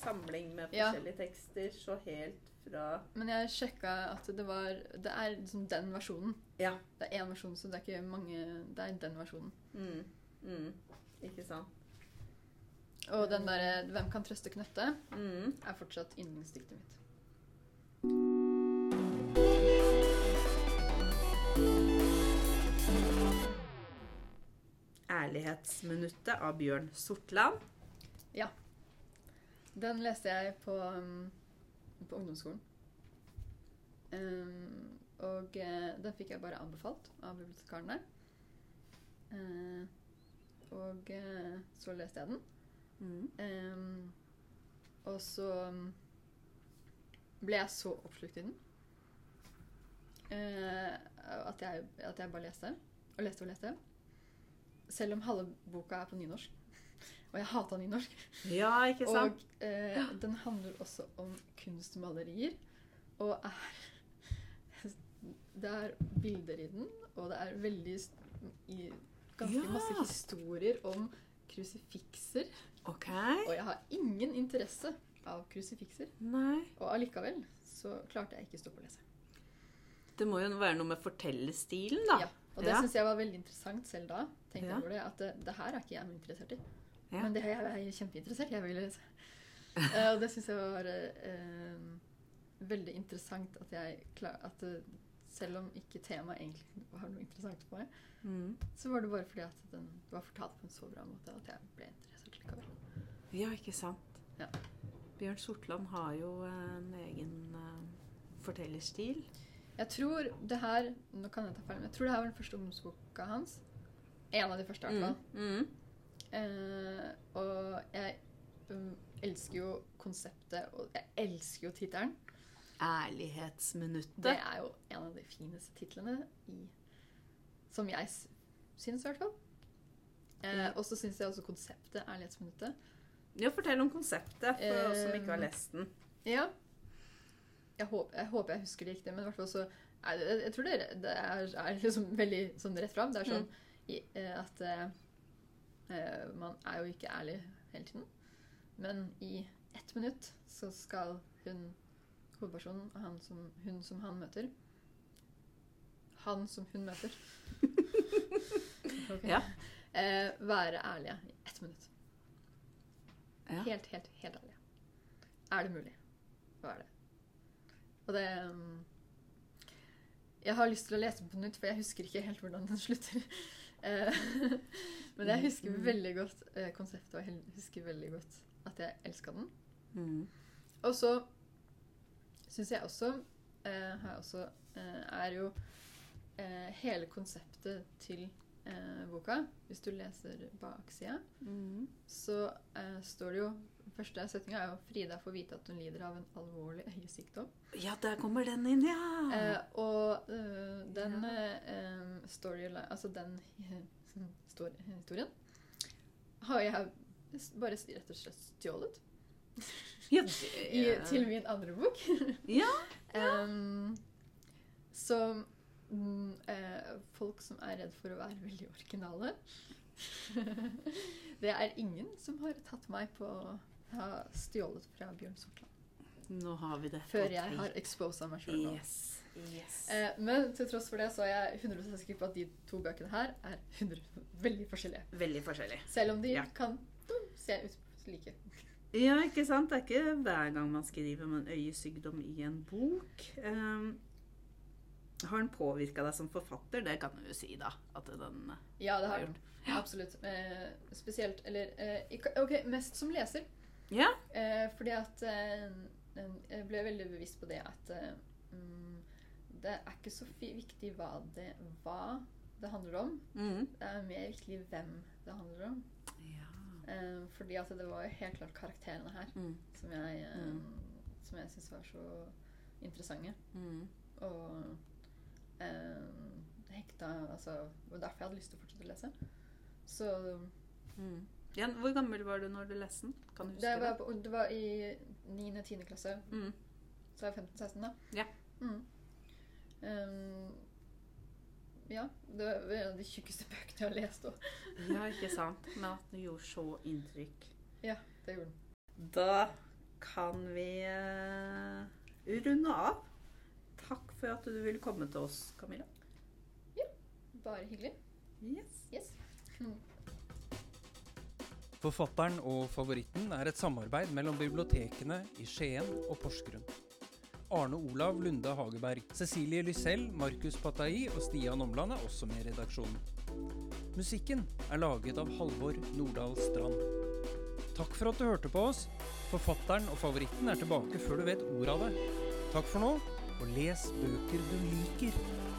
[SPEAKER 2] Samling med
[SPEAKER 1] Ja.
[SPEAKER 2] forskjellige tekster, så helt fra
[SPEAKER 1] Men jeg sjekka at det var Det er liksom den versjonen.
[SPEAKER 2] Ja.
[SPEAKER 1] Det er én versjon, så det er ikke mange Det er den versjonen.
[SPEAKER 2] mm, mm, Ikke sant?
[SPEAKER 1] Og den derre 'Hvem kan trøste knøtte?'
[SPEAKER 2] Mm.
[SPEAKER 1] er fortsatt yndlingsdiktet mitt.
[SPEAKER 2] Ærlighetsminuttet av Bjørn Sortland.
[SPEAKER 1] Den leste jeg på, um, på ungdomsskolen. Um, og eh, den fikk jeg bare anbefalt av bibliotekaren der. Eh, og eh, så leste jeg den. Ehm, og så um, ble jeg så oppslukt i den eh, at, jeg, at jeg bare leste og leste og leste. Selv om halve boka er på nynorsk. Og jeg hata nynorsk.
[SPEAKER 2] Ja, ikke sant?
[SPEAKER 1] Og eh, den handler også om kunstmalerier. Og er Det er bilder i den, og det er veldig s- i, Ganske
[SPEAKER 2] Ja.
[SPEAKER 1] masse historier om krusifikser.
[SPEAKER 2] OK.
[SPEAKER 1] Og jeg har ingen interesse av krusifikser.
[SPEAKER 2] Nei.
[SPEAKER 1] Og allikevel så klarte jeg ikke å stoppe å lese.
[SPEAKER 2] Det må jo være noe med fortellerstilen, da.
[SPEAKER 1] Ja, Og det
[SPEAKER 2] Ja.
[SPEAKER 1] synes syns jeg var veldig interessant selv da. tenkte
[SPEAKER 2] Ja.
[SPEAKER 1] jeg over det, At det, det her er ikke jeg noe interessert i.
[SPEAKER 2] Ja.
[SPEAKER 1] Men det her er jeg kjempeinteressert i. Jeg vil lese. Eh, og det syns jeg var eh, eh, veldig interessant at jeg klar, at eh, selv om ikke temaet egentlig var noe interessant for meg,
[SPEAKER 2] Mm.
[SPEAKER 1] så var det bare fordi at den var fortalt på en så bra måte at jeg ble interessert likevel.
[SPEAKER 2] Ja, ikke sant.
[SPEAKER 1] Ja.
[SPEAKER 2] Bjørn Sortland har jo eh, en egen eh, fortellerstil.
[SPEAKER 1] Jeg tror det her nå kan jeg ta feil, men jeg tror det her var den første ungdomsboka hans. En av de første, i hvert fall.
[SPEAKER 2] Mm.
[SPEAKER 1] Eh, og jeg mm, elsker jo konseptet, og jeg elsker jo tittelen.
[SPEAKER 2] Ærlighetsminuttet.
[SPEAKER 1] Det er jo en av de fineste titlene i Som jeg s- syns, i hvert fall. Eh,
[SPEAKER 2] Ja.
[SPEAKER 1] og så syns jeg også konseptet Ærlighetsminuttet.
[SPEAKER 2] Ja, fortell om konseptet for oss som ikke har
[SPEAKER 1] Eh,
[SPEAKER 2] lest den.
[SPEAKER 1] Ja. Jeg håper, jeg håper jeg husker det riktig, men i hvert fall så er det, jeg tror det, er- det er, er liksom veldig sånn rett fram. Det er sånn i, eh, at eh, eh, man er jo ikke ærlig hele tiden. Men i ett minutt så skal hun hovedpersonen, og han som, hun som han møter Han som hun møter Ok.
[SPEAKER 2] Ja.
[SPEAKER 1] eh, Være ærlige i ett minutt.
[SPEAKER 2] Ja.
[SPEAKER 1] Helt, helt, helt ærlige. Er det mulig? Hva er det? Og det um, Jeg har lyst til å lese den på nytt, for jeg husker ikke helt hvordan den slutter. Eh, Men jeg husker
[SPEAKER 2] Mm.
[SPEAKER 1] veldig godt eh, konseptet, og jeg husker veldig godt at jeg elska den.
[SPEAKER 2] Mm.
[SPEAKER 1] Og så syns jeg også, eh, har jeg også eh, er jo eh, hele konseptet til eh, boka Hvis du leser baksida,
[SPEAKER 2] Mm.
[SPEAKER 1] så eh, står det jo Første setninga er jo 'Frida får vite at hun lider av en alvorlig øyesykdom'.
[SPEAKER 2] Ja, der kommer den inn, ja!
[SPEAKER 1] Eh, og eh, den
[SPEAKER 2] Ah. Ja.
[SPEAKER 1] eh, storyline Altså den stor- historien har jeg s- bare s- rett og slett stjålet
[SPEAKER 2] ja, det
[SPEAKER 1] i,
[SPEAKER 2] er-
[SPEAKER 1] til min andre bok.
[SPEAKER 2] Ja,
[SPEAKER 1] Em, Ehm, så mm, eh, folk som er redd for å være veldig originale Det er ingen som har tatt meg på å ha stjålet fra Bjørn Sortland.
[SPEAKER 2] Nå har vi det. på
[SPEAKER 1] Før jeg
[SPEAKER 2] tape.
[SPEAKER 1] har exposa meg sjøl nå.
[SPEAKER 2] Yes. yes.
[SPEAKER 1] Eh, men til tross for det så er jeg 100 sikker på at de to bøkene her er 100, veldig forskjellige.
[SPEAKER 2] Veldig forskjellig.
[SPEAKER 1] Selv om de
[SPEAKER 2] Ja.
[SPEAKER 1] kan mm, se ut like.
[SPEAKER 2] Ja, ikke sant? Det er ikke hver gang man skriver om en øyesykdom i en bok. Ehm, har den påvirka deg som forfatter? Det kan du jo si, da. At den eh,
[SPEAKER 1] Ja, det har
[SPEAKER 2] Har
[SPEAKER 1] den. Absolutt. Eh, spesielt Eller eh, ikke- OK, mest som leser.
[SPEAKER 2] Ja.
[SPEAKER 1] Eh, fordi at eh, en- Jeg ble veldig bevisst på det at eh, mm, det er ikke så fi- viktig hva det, hva det handler om.
[SPEAKER 2] mm.
[SPEAKER 1] Det er mer viktig hvem det handler om.
[SPEAKER 2] Ja.
[SPEAKER 1] Eh, fordi at det var jo helt klart karakterene her
[SPEAKER 2] Mm.
[SPEAKER 1] som jeg, eh,
[SPEAKER 2] Mm.
[SPEAKER 1] som jeg syns var så interessante.
[SPEAKER 2] Mm.
[SPEAKER 1] Og eh, hekta altså, Det var derfor jeg hadde lyst til å fortsette å lese. Så
[SPEAKER 2] Mm. Ja, hvor gammel var du når du leste den? Kan du huske
[SPEAKER 1] det
[SPEAKER 2] det?
[SPEAKER 1] var, på, det var i 9. og 10. klasse.
[SPEAKER 2] Mm.
[SPEAKER 1] Så er jeg 15-16, da.
[SPEAKER 2] Ja.
[SPEAKER 1] Mm. Ehm, ja. Det var en av de tjukkeste bøkene jeg har lest òg.
[SPEAKER 2] Ja, ikke sant. Men at den gjorde så inntrykk.
[SPEAKER 1] Det gjorde den.
[SPEAKER 2] Da kan vi eh, runde av. Takk for at du ville komme til oss, Camilla.
[SPEAKER 1] Bare hyggelig.
[SPEAKER 2] Yes.
[SPEAKER 1] Yes.
[SPEAKER 3] Forfatteren og favoritten er et samarbeid mellom bibliotekene i Skien og Porsgrunn. Arne Olav Lunde Hageberg, Cecilie Lysell, Markus Patai og Stian Omland er også med i redaksjonen. Musikken er laget av Halvor Nordahl Strand. Takk for at du hørte på oss. Forfatteren og favoritten er tilbake før du vet ordet av det. Takk for nå, og les bøker du liker.